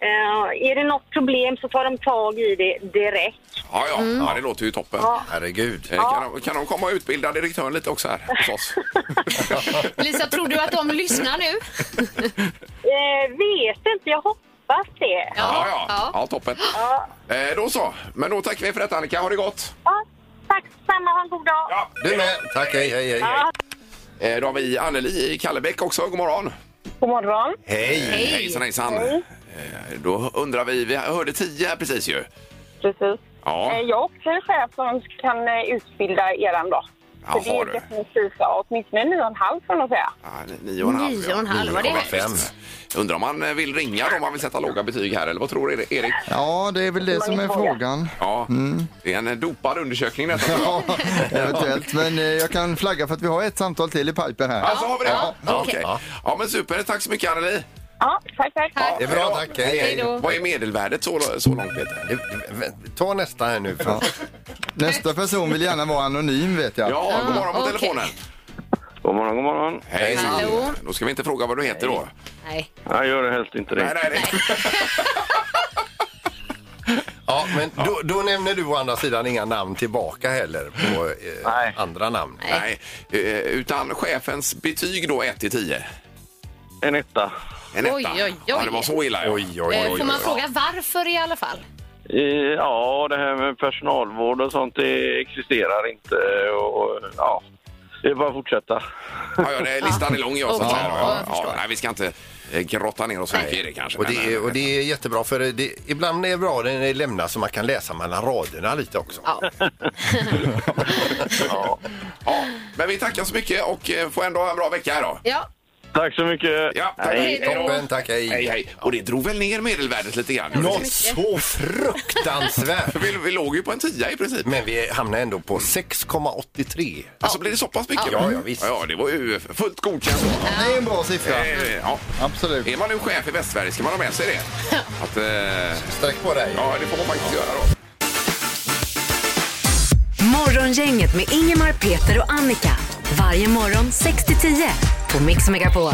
S2: Eh, är det något problem så tar de tag i det direkt.
S4: Ja, ja,
S6: Mm.
S4: ja det låter ju toppen.
S5: Herregud.
S4: Eh, Kan, de, kan de komma och utbilda direktören lite också här hos oss?
S6: Lisa, tror du att de lyssnar nu?
S2: Eh, vet inte, jag hoppas det.
S4: Ja, ja, ja. toppen. Eh, då så. Men då tackar vi för detta Annika. Ha det gott.
S2: Ja, tack samma, ha en god dag.
S5: Du med. Tack, hej, hej, hej. hej.
S4: Eh, då har vi Anneli i Kallebäck också. God morgon.
S2: God morgon.
S5: Hej!
S6: Hej.
S4: Hejsan, hejsan. Eh, då undrar vi, vi hörde 10 här precis ju.
S2: Precis. Eh,
S4: Ja,
S2: Jag är också en chef som kan eh, utbilda eran då. För det
S4: Jaha,
S2: är
S4: du.
S2: definitivt ja, åtminstone nio och en halv får man säga.
S4: Ah, ni- nio och en halv.
S6: Nio
S4: ja.
S6: och en halv, vad det är.
S4: Nio och en halv. Undrar om man eh, vill ringa då, om man vill sätta låga betyg här, eller vad tror du, Erik?
S7: Ja, det är väl det som är frågan.
S4: Ja, det är en eh, dopad undersökning detta.
S7: Ja, eventuellt. Men eh, jag kan flagga för att vi har ett samtal till i piper här.
S4: Alltså har vi det? Ja, ja,
S6: okej.
S4: okej. ja men super. Tack så mycket Anneli.
S2: Ja, tack, tack.
S6: Tack.
S5: Det är bra, tack. Hej,
S6: Hej
S5: hej.
S6: då.
S4: Vad är medelvärdet så, så långt Peter?
S5: Ta nästa här nu. För...
S7: Nästa person vill gärna vara anonym vet jag.
S4: Ja, god morgon på
S6: okej.
S4: telefonen.
S8: God morgon, god morgon.
S4: Hej,
S6: Hallå.
S4: Då ska vi inte fråga vad du heter då.
S6: Nej.
S8: Jag gör det helst inte
S4: Nej,
S8: det.
S4: nej, nej.
S5: Ja, men då, då nämner du å andra sidan inga namn tillbaka heller på
S8: Nej.
S5: eh, andra namn.
S4: nej. Eh, Utan chefens betyg då 1 till 10.
S8: En etta.
S4: En etta.
S6: Oj, oj, oj.
S4: Ja, det var så illa. ja.
S5: Oj, oj,
S6: Eh,
S5: oj.
S6: Får man fråga varför i alla fall?
S8: Eh, Ja, det här med personalvård och sånt det existerar inte. Och, ja, det är bara att fortsätta.
S4: Ja, ja, det är- listan är lång jag så att
S6: Okej,
S4: säga.
S6: ja,
S4: Ja,
S6: jag
S4: ja, nej, vi ska inte eh, grotta ner oss så mycket i det kanske.
S5: Och
S4: men,
S5: det, är, och det är jättebra för det, ibland är det bra när det lämnas så man kan läsa mellan raderna lite också.
S6: Ja.
S4: eh, ja. Ja, men vi tackar så mycket och eh, får ändå ha en bra vecka här då.
S6: ja.
S8: Tack så mycket!
S4: Ja, tack.
S8: Hej.
S6: då.
S5: Toppen, tack, hej.
S4: Hej, hej. Och det drog väl ner medelvärdet lite grann? gjorde det
S5: Något så fruktansvärt!
S4: För vi, vi låg ju på en tia i princip.
S5: Men vi hamnar ändå på 6,83.
S4: Alltså blir det så pass mycket?
S5: Ja, ja, visst.
S4: Ja, det var ju fullt godkänt.
S7: Det är en bra siffra.
S4: Eh, Ja.
S7: Absolut.
S4: Är man nu chef i Västsverige ska man ha med sig det. Att, eh,
S5: Sträck på dig.
S4: ja, det får man faktiskt göra då.
S3: Morgongänget med Ingemar, Peter och Annika. Varje morgon 6 till 10 på Mix Megapol.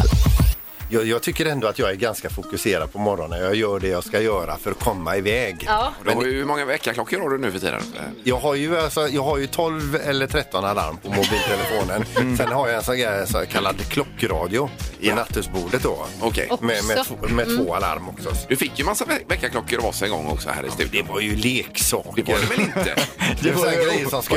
S5: Jag, jag tycker ändå att jag är ganska fokuserad på morgonen. Jag gör det jag ska göra för att komma iväg.
S6: Ja.
S4: Men det... Hur många veckaklockor har du nu för tiden? Eh,
S5: Jag har, ju, alltså, jag har ju 12 eller 13 alarm på mobiltelefonen. Sen har jag en sån, här, så kallad klockradio
S4: Mm. Ja. Mm.
S5: i nattusbordet då.
S4: Okej.
S5: Med, med,
S6: Också.
S5: två, med två alarm också.
S4: Du fick ju massa ve- veckaklockor av oss en gång också här i
S5: Det
S4: studion.
S5: var ju leksaker.
S4: Det var det väl inte?
S5: Det var
S7: var
S5: ju
S7: ju-
S5: grejer som ska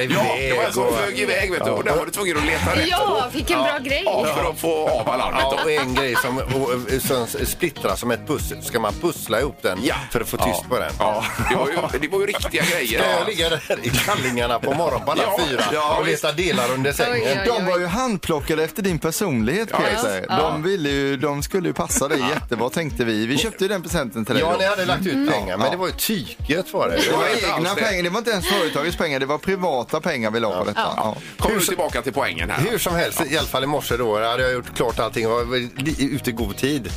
S4: Ja,
S5: iväg.
S4: det var en som
S5: och-
S4: flög iväg vet du. Och där var du tvungen att leta rätt
S6: Ja, vilken bra grej.
S4: av för att få av alarmet.
S5: Ja,
S4: då.
S5: och en grej som, och, som splittrar som ett pussel. Ska man pussla ihop den
S4: Ja.
S5: för att få tyst på den?
S4: Ja, det var ju, det var ju riktiga grejer.
S5: Ska jag ligga där i kallingarna på morgonen på alla
S4: Ja,
S5: fyra
S4: ja,
S5: och leta delar under sängen?
S6: Oj, oj, oj.
S7: De var ju handplockade efter din personlighet Peter.
S6: Ja.
S7: De, ville ju, de skulle ju passa dig jättebra tänkte vi. Vi köpte ju den presenten till dig
S5: Ja,
S7: då.
S5: ni hade lagt ut
S6: Mm.
S5: pengar, men
S7: Ja.
S5: det var ju tyget var det.
S7: Det var
S4: Jag vet
S7: egna
S4: alls det.
S7: pengar, det var inte ens företagets pengar, det var privata pengar vi la på detta. Ja.
S4: Kommer du tillbaka till poängen här?
S5: Hur som helst, i alla fall i morse då hade jag gjort klart allting och var li- ute i god tid.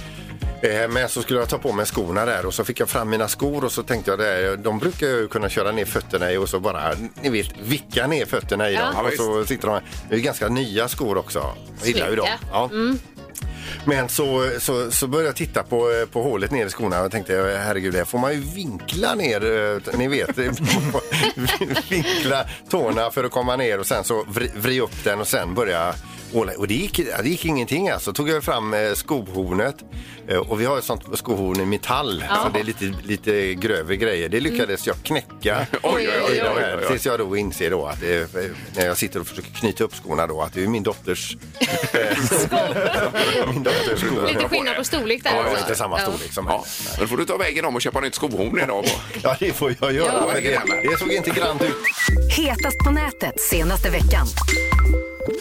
S5: Eh, Men så skulle jag ta på mig skorna där och så fick jag fram mina skor och så tänkte jag det här, de brukar jag ju kunna köra ner fötterna i och så bara, ni vet, vicka ner fötterna i
S6: Ja.
S5: dem.
S6: Ja,
S5: Och så sitter de här. Det är ju ganska nya skor också. Jag gillar ju dem.
S6: Snygga.
S5: Ja. Men så, så, så började jag titta på, på hålet ner i skorna och tänkte herregud, här får man ju vinkla ner, eh, ni vet, vinkla tårna för att komma ner och sen så vri, vri upp den och sen börja åla. Och det gick, ja, det gick ingenting alltså. Tog jag fram eh, skohornet eh, och vi har ett sånt skohorn i metall,
S6: Ja.
S5: så det är lite, lite grövre grejer. Det lyckades jag knäcka.
S4: Mm. Oj, oj, oj,
S5: i de här,
S4: oj, oj.
S5: Tills jag då inser då att eh, när jag sitter och försöker knyta upp skorna då att det är min dotters min dotters skor.
S6: Lite skillnad på storlek där.
S5: Ja,
S6: alltså.
S5: inte samma
S6: Ja.
S5: storlek som
S4: Ja,
S5: ja.
S4: men då får du ta vägen om och köpa nytt skohorn idag. på.
S5: ja, det får jag göra.
S4: Ja.
S5: men det, det såg inte grant ut.
S3: Hetast på nätet senaste veckan.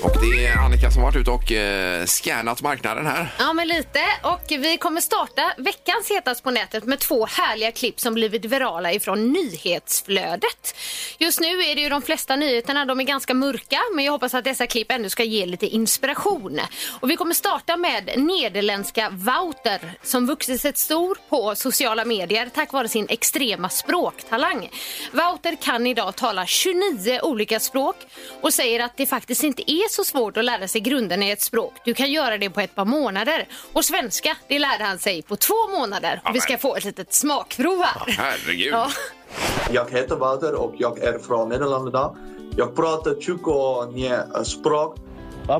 S4: Och det är Annika som har varit ute och eh, scannat marknaden här.
S6: Ja, men lite. Och vi kommer starta veckans hetast på nätet med två härliga klipp som blivit virala ifrån nyhetsflödet. Just nu är det ju de flesta nyheterna, de är ganska mörka, men jag hoppas att dessa klipp ändå ska ge lite inspiration. Och vi kommer starta med nederländska Wouter som vuxit sig stor på sociala medier tack vare sin extrema språktalang. Wouter kan idag tala 29 olika språk och säger att det faktiskt inte är så svårt att lära sig grunderna i ett språk. Du kan göra det på ett par månader. Och svenska, det lärde han sig på två månader. Och vi ska få ett litet smakprov här.
S4: Herregud.
S6: Ja.
S8: Jag heter Wouter och jag är från Nederländerna. Jag pratar 29 språk.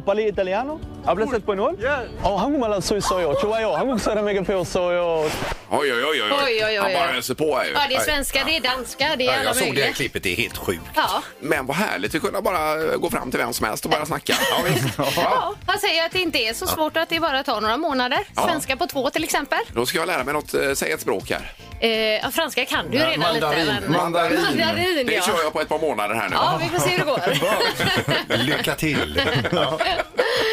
S2: Parli italiano? Hablas español? Yeah. Oh, 한국말 소이 소요. 좋아요. 한국 사람에게 배워 소요.
S4: Oj, oj, oj, oj.
S6: Oj, oj, oj,
S4: Han bara
S6: oj.
S4: öser på här ju.
S6: Ja, det är svenska, det är danska, det är
S5: Ja,
S6: alla
S5: jag såg det här
S6: möjliga.
S5: klippet, det är helt sjukt.
S6: Ja.
S4: Men vad härligt att kunna bara gå fram till vem som helst och bara snacka. Ja, visst. Ja.
S6: ja, han säger att det inte är så svårt att det bara tar några månader. Svenska på två till exempel.
S4: Då ska jag lära mig något, eh, säg ett språk här.
S6: Eh, ja, franska kan du ju redan
S5: mandarin.
S6: lite. men-
S7: Mandarin.
S6: Mandarin,
S4: Det kör
S6: ja.
S4: jag på ett par månader här nu.
S6: Ja, vi får se hur det går.
S5: Lycka till! Ja.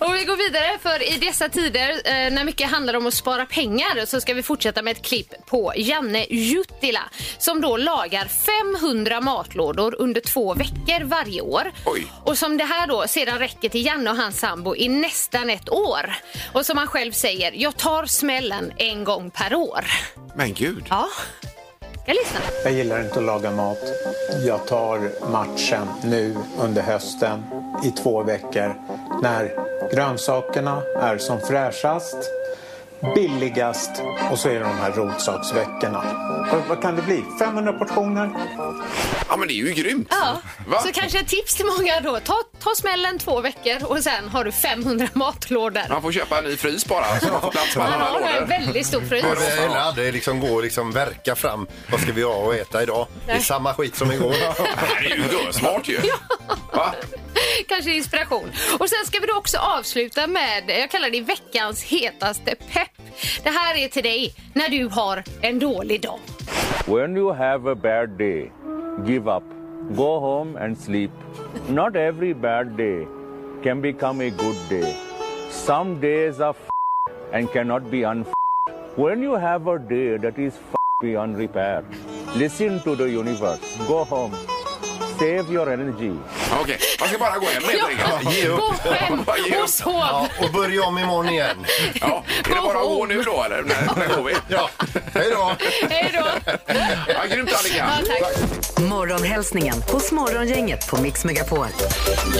S6: Och vi går vidare för i dessa tider eh, när mycket handlar om att spara pengar så ska vi fortsätta med ett klipp på Janne Juttila som då lagar 500 matlådor under två veckor varje år.
S4: Oj.
S6: Och som det här då sedan räcker till Janne och hans sambo i nästan ett år. Och som han själv säger, jag tar smällen en gång per år.
S4: Men gud.
S6: Ja, ska lyssna.
S2: Jag gillar inte att laga mat. Jag tar matchen nu under hösten i två veckor när grönsakerna är som fräschast, billigast och så är det de här rotsaksveckorna. Vad, vad kan det bli? 500 portioner?
S4: Ja, men det är ju grymt.
S6: Ja,
S4: Va?
S6: så kanske ett tips till många då. Ta, ta smällen två veckor och sen har du 500 matlådor.
S4: Man får köpa en ny frys bara så man får plats med
S6: Han
S4: alla
S6: har nog en
S4: lådor.
S6: väldigt stor frys.
S5: Eller aldrig liksom gå och liksom verka fram. Vad ska vi ha och äta idag? Det är samma skit som igår.
S4: Det här är ju smart ju. Va?
S6: Kanske inspiration. Och sen ska vi då också avsluta med, jag kallar det veckans hetaste pepp. Det här är till dig när du har en dålig dag.
S2: When you have a bad day, give up. Go home and sleep. Not every bad day can become a good day. Some days are f- and cannot be un. When you have a day that is f- beyond repair, listen to the universe. Go home. Save your energy.
S4: Okej, man ska bara gå hem helt enkelt.
S5: ge upp.
S6: Gå hem
S4: Ja, ge upp.
S6: och sov.
S5: Ja, och börja om imorgon igen.
S4: Ja, är det bara att gå nu då eller? När, när går vi?
S5: Ja, hej då!
S6: Hej då.
S4: Ja, grymt Annika.
S6: Ja, tack.
S3: Morgonhälsningen hos Morgongänget på Mix Megapol.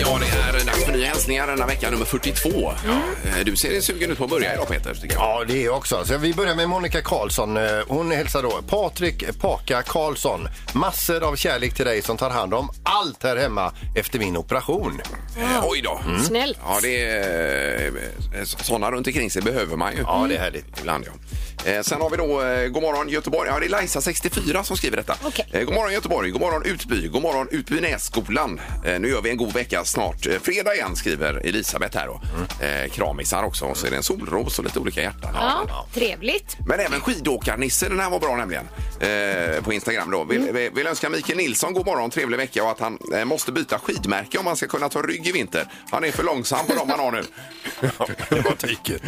S4: Ja, det är dags för nya hälsningar denna vecka, nummer 42.
S6: Mm.
S4: Eh, Du ser sugen ut på att börja idag Peter. tycker jag.
S5: Ja, det är jag också. Så vi börjar med Monica Karlsson. Eh, Hon hälsar då Patrik Paka Karlsson. Massor av kärlek till dig som tar hand om allt här hemma efter min operation. Ah.
S4: Eh, Oj då.
S6: Snällt.
S4: Ja, det är, eh, sådana runt omkring sig behöver man ju. Mm.
S5: Ja, det är härligt.
S4: Ibland, ja. Eh, Sen har vi då eh, God morgon Göteborg. Ja, det är Lajsa 64 som skriver detta.
S6: Okej.
S4: Eh, God morgon Göteborg, God morgon Utby, God morgon Utbynässkolan. Eh, Nu gör vi en god vecka snart. Eh, Fredag igen skriver Elisabeth här då.
S5: Mm.
S4: Eh, Kramisar också och så är det en solros och lite olika hjärtan.
S6: Ja, trevligt.
S4: Men även skidåkarnisse, den här var bra nämligen. Eh, på Instagram då. Vill,
S5: Mm.
S4: vill- vill önska Mikael Nilsson god morgon, trevlig vecka och att han eh, måste byta skidmärke om han ska kunna ta rygg i vinter. Han är för långsam på de han har nu.
S5: det var tyket.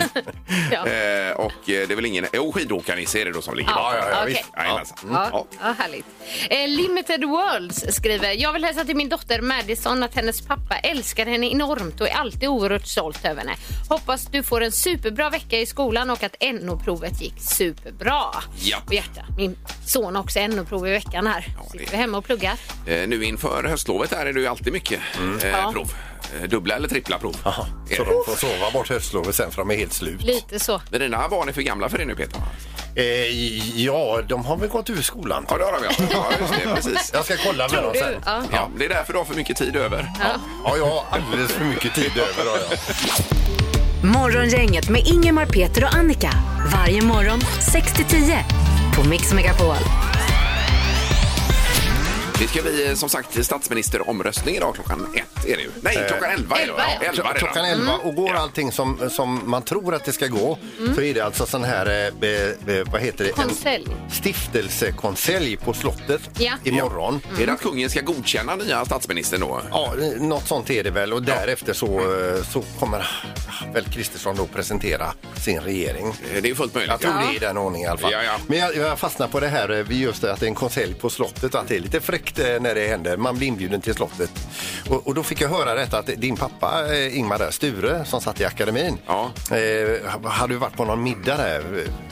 S6: Ja.
S4: Eh, och eh, det är väl ingen... Jo, skidåkare är det då som ligger
S6: Ja,
S4: bakom.
S6: ja, ja, visst.
S4: Jajamensan.
S6: Ja,
S4: Ja.
S6: ja, härligt. Eh, Limited Worlds skriver Jag vill hälsa till min dotter Madison att hennes pappa älskar henne enormt och är alltid oerhört stolt över henne. Hoppas du får en superbra vecka i skolan och att NO-provet gick superbra.
S4: Ja.
S6: Och hjärta, min son har också NO-prov i veckan här.
S4: det-
S6: Sitter vi hemma och pluggar.
S4: Eh, nu inför höstlovet här är det ju alltid mycket eh,
S6: Mm. Ja.
S4: prov. Eh, Dubbla eller trippla prov.
S5: Ja,
S4: Är
S5: så
S4: det.
S5: de får sova bort höstlovet sen för de är helt slut.
S6: Lite så.
S4: Men dina barn är för gamla för det nu, Peter.
S5: Eh, ja, de har väl gått ur skolan.
S4: Ja, det har de ja. ja just det, precis.
S5: Jag ska kolla med
S6: Tror
S5: dem
S6: du?
S5: sen.
S6: Ja.
S4: Ja, det är därför du har för mycket tid över.
S5: Ja, jag har alldeles för mycket tid över. har jag.
S3: Morgongänget med Ingemar, Peter och Annika. Varje morgon 6-10 på Mix Megapol.
S4: Det ska bli eh, som sagt statsministeromröstning idag klockan ett är det ju. Nej, klockan elva är det.
S6: elva, ja.
S4: elva redan.
S5: Klockan 11 och går allting som, som man tror att det ska gå så är det alltså sån här, eh, eh, eh, vad heter det? En
S6: Konselj.
S5: Stiftelsekonselj på slottet
S6: Ja.
S5: imorgon.
S4: Är det att kungen ska godkänna nya statsministern då?
S5: Ja, något sånt är det väl och därefter så, eh, så kommer väl Kristersson då presentera sin regering.
S4: Eh, Det är fullt möjligt.
S5: Jag tror
S4: ja.
S5: det är i den ordningen i alla fall.
S4: Ja, ja.
S5: Men jag, jag fastnar på det här eh, vid just det att det är en konselj på slottet och att det är lite fräckt eh, när det händer. Man blir inbjuden till slottet. Och, och då fick jag höra detta att din pappa eh, Ingmar där, Sture, som satt i akademin,
S4: Ja.
S5: eh, hade ju varit på någon middag där.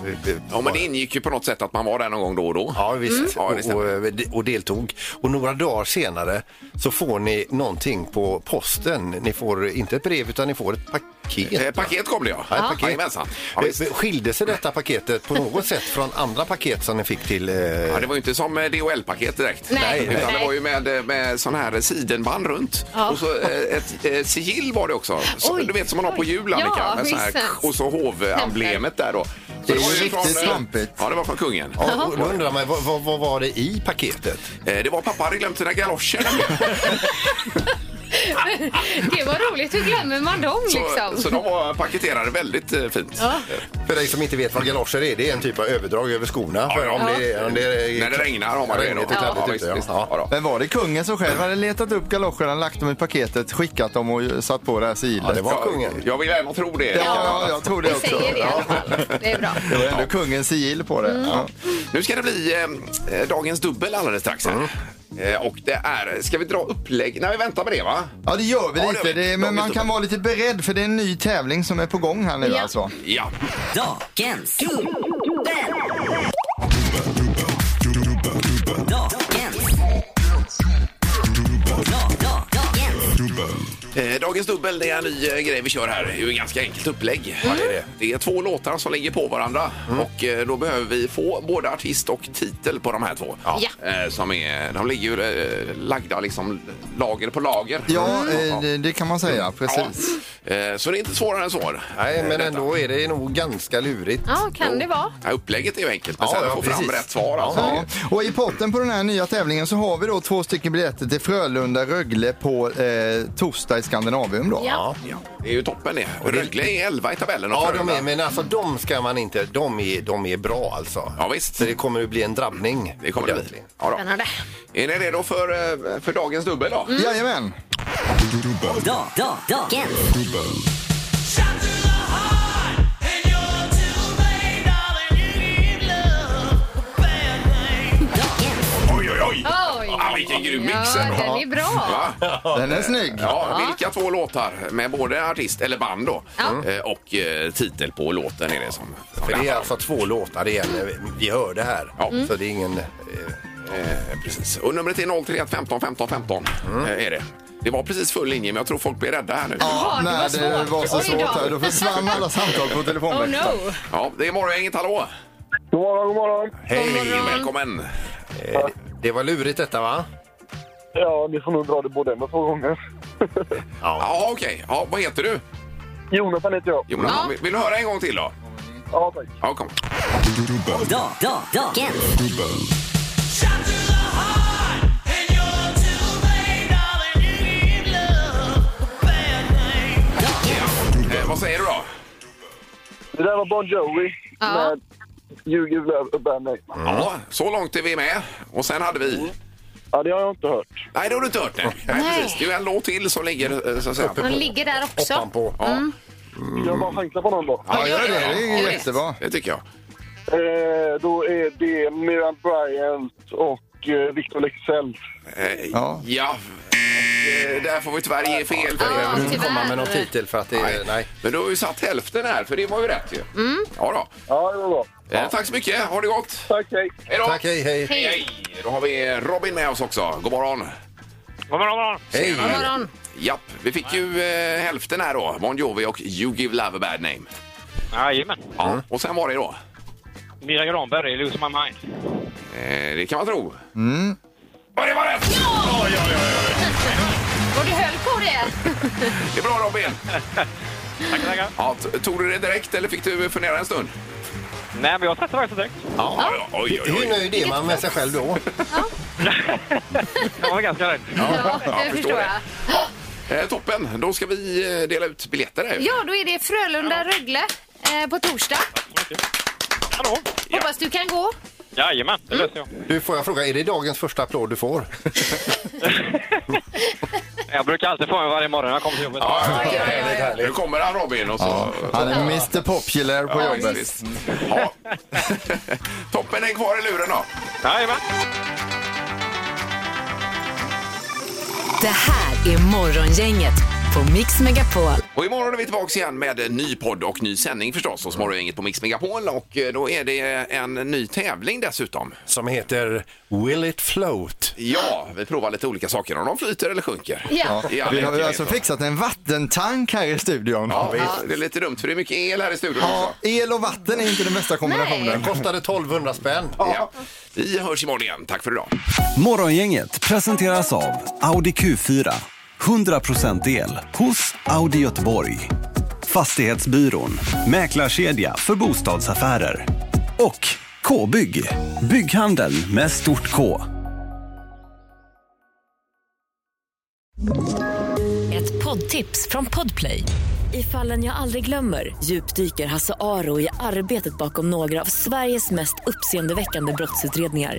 S5: eh, eh,
S4: Ja, men det ingick ju på något sätt att man var där någon gång då och då.
S5: Ja, visst.
S4: Ja, det
S5: och,
S4: stämmer.
S5: och, eh, och deltog. Och några dagar senare så får ni någonting på posten. Ni får inte ett brev utan ni får ett paket.
S4: Eh, paket kom det ja.
S5: Ja, ett paket.
S4: Jajamensan. Ja,
S5: Eh,
S4: visst.
S5: Skilde sig detta paketet på något sätt från andra paket som ni fick till... eh,
S4: Ja, det var ju inte som eh, DHL-paket direkt.
S6: Nej,
S4: Utan
S6: nej.
S4: det var ju med, eh, med sån här sidenband runt.
S6: Ja.
S4: Och så eh, ett eh, sigill var det också. Så,
S6: Oj.
S4: du vet som man har på
S6: Oj.
S4: jul, Annika.
S6: Ja,
S4: med så här,
S6: visst.
S4: och så hovemblemet där då. Så
S7: Det är
S4: var
S7: ju
S4: från,
S7: riktigt
S4: eh,
S7: slampigt.
S4: Ja, det var från kungen.
S5: Ja, och då undrar man, vad, vad, vad var det i paketet?
S4: Eh, Det var pappa hade glömt sina galoscher. nämligen.
S6: Det var roligt. Hur glömmer man dem liksom?
S4: så, så de var paketerade väldigt eh, fint.
S6: Ja.
S5: För dig som inte vet vad galoscher är, det är en typ av överdrag över skorna. För
S4: ja.
S5: om det, om det,
S4: När det regnar har man det.
S5: regnigt
S4: då.
S5: och kladdigt
S4: Ja,
S5: ute,
S4: visst,
S5: ja.
S4: visst.
S5: Ja.
S4: Ja, då.
S7: Men var det kungen som själv hade letat upp galoscherna, lagt dem i paketet, skickat dem och satt på det här sigillet?
S5: Ja, det var
S4: Ja,
S5: kungen.
S4: Jag vill ändå tro det.
S7: Ja, ja, jag tror det
S6: Vi
S7: också.
S6: säger det i alla fall. Det är bra.
S7: Det var ändå kungens sigill på det. Ja.
S4: Nu ska det bli eh, eh, dagens dubbel alldeles strax. Här. Eh, och det är... Ska vi dra upplägg? Nej, vi väntar med det, va?
S7: Ja, det gör vi
S4: Ja, det
S7: lite.
S4: gör vi.
S7: Det, men man kan vara lite beredd för det är en ny tävling som är på gång här nu
S6: Ja.
S7: alltså.
S4: Ja.
S3: Dagens dubbel. Dagens. Dagens.
S4: Eh, dagens dubbel, det är en ny eh, grej vi kör här. Det är ju ett ganska enkelt upplägg. det, är det. det är två låtar som ligger på varandra och eh, då behöver vi få både artist och titel på de här två.
S6: Ja.
S4: Eh, som är, de ligger ju eh, lagda liksom lager på lager. Mm.
S7: Ja, eh, det, det kan man säga. Precis.
S4: Ja. Eh, Så det är inte svårare än så.
S5: Nej, men
S4: Detta.
S5: ändå är det nog ganska lurigt.
S6: Ja, kan det vara.
S4: Ja, upplägget är ju enkelt, men
S5: Ja,
S4: sen
S5: ja,
S4: att få fram
S5: precis.
S4: rätt svar. Alltså.
S7: Ja, och i potten på den här nya tävlingen så har vi då två stycken biljetter till Frölunda-Rögle på eh, torsdag i Skandinavium då.
S6: Ja.
S4: Ja, det är ju toppen det. Och Rögle är 11 i tabellen. och
S5: Ja, de
S4: Frölunda-
S5: är, men alltså de ska man inte... De är, de är bra alltså.
S4: Ja, visst.
S5: Så det kommer att bli en drabbning.
S4: Det kommer det bli.
S5: Ordentligt.
S4: Ja, då.
S6: Spännande. Mm.
S4: Är ni redo för, eh, för dagens dubbel då?
S7: Jajamän.
S3: Da, da, dagens. Dagens.
S4: Oj, oj, oj!
S6: Oj.
S4: Ah, vilken grym mix
S6: Ja,
S4: ändå.
S6: den är bra.
S4: Va?
S7: Den är snygg.
S4: Ja, vilka två låtar med både artist, eller band då,
S6: Ja.
S4: eh, och eh, titel på låten är det som... som
S5: För det är
S4: handlar om.
S5: alltså två låtar igen. Vi hör det här.
S4: Ja.
S5: Så det är ingen... eh,
S4: Eh, precis. Och numret är 031 15 15 15. Eh, är det. det var precis full linje, men jag tror folk blir rädda här nu.
S6: Jaha, det var
S7: Nej, det
S6: svårt.
S7: var så
S6: Oj då.
S7: svårt här. Då försvann alla samtal på
S6: Oh
S7: telefonväxeln.
S6: no.
S4: Ja, det är morgongänget, hallå!
S8: God morgon, god morgon.
S4: Hej, välkommen!
S5: eh, det var lurigt detta va?
S8: Ja, ni får nog dra det både med två gånger.
S4: Ja, okej. Ja, vad heter du?
S8: Jonathan heter jag.
S4: Jonas, vill, vill du höra en gång till då?
S8: Ja, tack.
S4: Ja, kom.
S3: Da, da, dagens.
S4: Eh, vad säger du då?
S8: Det där var Bon Jovi
S6: Ja.
S8: med You Give Love a Bad Name.
S4: Ja, så långt är vi med. Och sen hade vi...
S8: Ja, det har jag inte hört.
S4: Nej,
S7: Mm.
S4: det har du inte hört. Nej, nej precis. Det är ju en låt till som ligger eh, så att säga.
S6: Han ligger där också.
S5: Hoppan på.
S4: Ja.
S8: Jag bara chansar på någon då.
S7: Ja, gör det. Det är
S6: Ja,
S7: jättebra.
S4: Det tycker jag.
S8: Eh, då är det Miriam Bryant och eh, Victor Leksell.
S4: Eh, ja.
S7: Ja.
S4: eh, där får vi tyvärr ge fel.
S6: Ja,
S5: Jag vill inte
S6: tyvärr.
S5: komma med någon titel för att det
S4: Nej.
S5: är... Nej.
S4: Men du har ju satt hälften här, för det var ju rätt ju. Ja, då.
S8: Ja, det var bra.
S4: Eh, tack så mycket. Ha det gott.
S8: Tack, hej.
S4: Hej då.
S5: Tack, hej, hej.
S6: Hej.
S4: Hej. Då har vi Robin med oss också. God morgon.
S8: God morgon, god morgon.
S5: Hej.
S6: God morgon.
S4: Japp, vi fick ju eh, hälften här då. Bon Jovi och You Give Love a Bad Name.
S8: Jajamän.
S4: Ja. Och sen var det då?
S8: Mira Granberg, Lose My Mind.
S4: Eh, det kan man tro. Mm. Och det var rätt!
S6: Och du höll på det.
S4: Det är bra Robin!
S8: Tackar, tackar.
S4: Ja, t- tog du det direkt eller fick du fundera en stund?
S8: Nej, men jag testade faktiskt direkt.
S4: Ja, ja. Oj, oj,
S5: Hur
S4: oj.
S5: nöjd är man med sig själv då?
S8: Jag var ganska nöjd.
S6: Ja,
S4: jag
S6: det
S4: förstår
S6: förstår jag.
S4: Eh, toppen, då ska vi eh, dela ut biljetter här.
S6: Ja, då är det Frölunda-Rögle eh, på torsdag.
S8: Hallå?
S6: Hoppas du kan gå.
S8: Jajamän, det löser jag.
S5: Du, får jag fråga, är det dagens första applåd du får?
S8: Jag brukar alltid få en varje morgon när jag kommer till jobbet.
S4: Ja, härligt, härligt, härligt. Nu kommer han Robin och så...
S7: Han är Mr Popular på
S4: Ja,
S7: jobbet.
S4: visst. Ja. Toppen är kvar i luren då.
S8: Jajamän.
S3: Det här är Morgongänget på Mix Megapol.
S4: Och imorgon är vi tillbaka igen med en ny podd och ny sändning förstås hos Morgongänget på Mix Megapol och eh, då är det en ny tävling dessutom.
S5: Som heter Will it float?
S4: Ja, vi provar lite olika saker om de flyter eller sjunker.
S6: Ja.
S4: Ja,
S7: Vi har ju
S4: det-
S7: alltså fixat en vattentank här i studion.
S4: Ja, visst. det är lite dumt för det är mycket el här i studion
S7: Ja,
S4: också.
S7: el och vatten är inte den bästa kombinationen.
S5: Kostade 1200 spänn.
S4: Ja. Vi hörs imorgon igen. Tack för idag.
S11: Morgongänget presenteras av Audi Q4. 100% el hos Audi Göteborg. Fastighetsbyrån. Mäklarkedja för bostadsaffärer. Och K-bygg. Bygghandeln med stort K.
S3: Ett poddtips från Podplay. I fallen jag aldrig glömmer djupdyker Hasse Aro i arbetet bakom några av Sveriges mest uppseendeväckande brottsutredningar.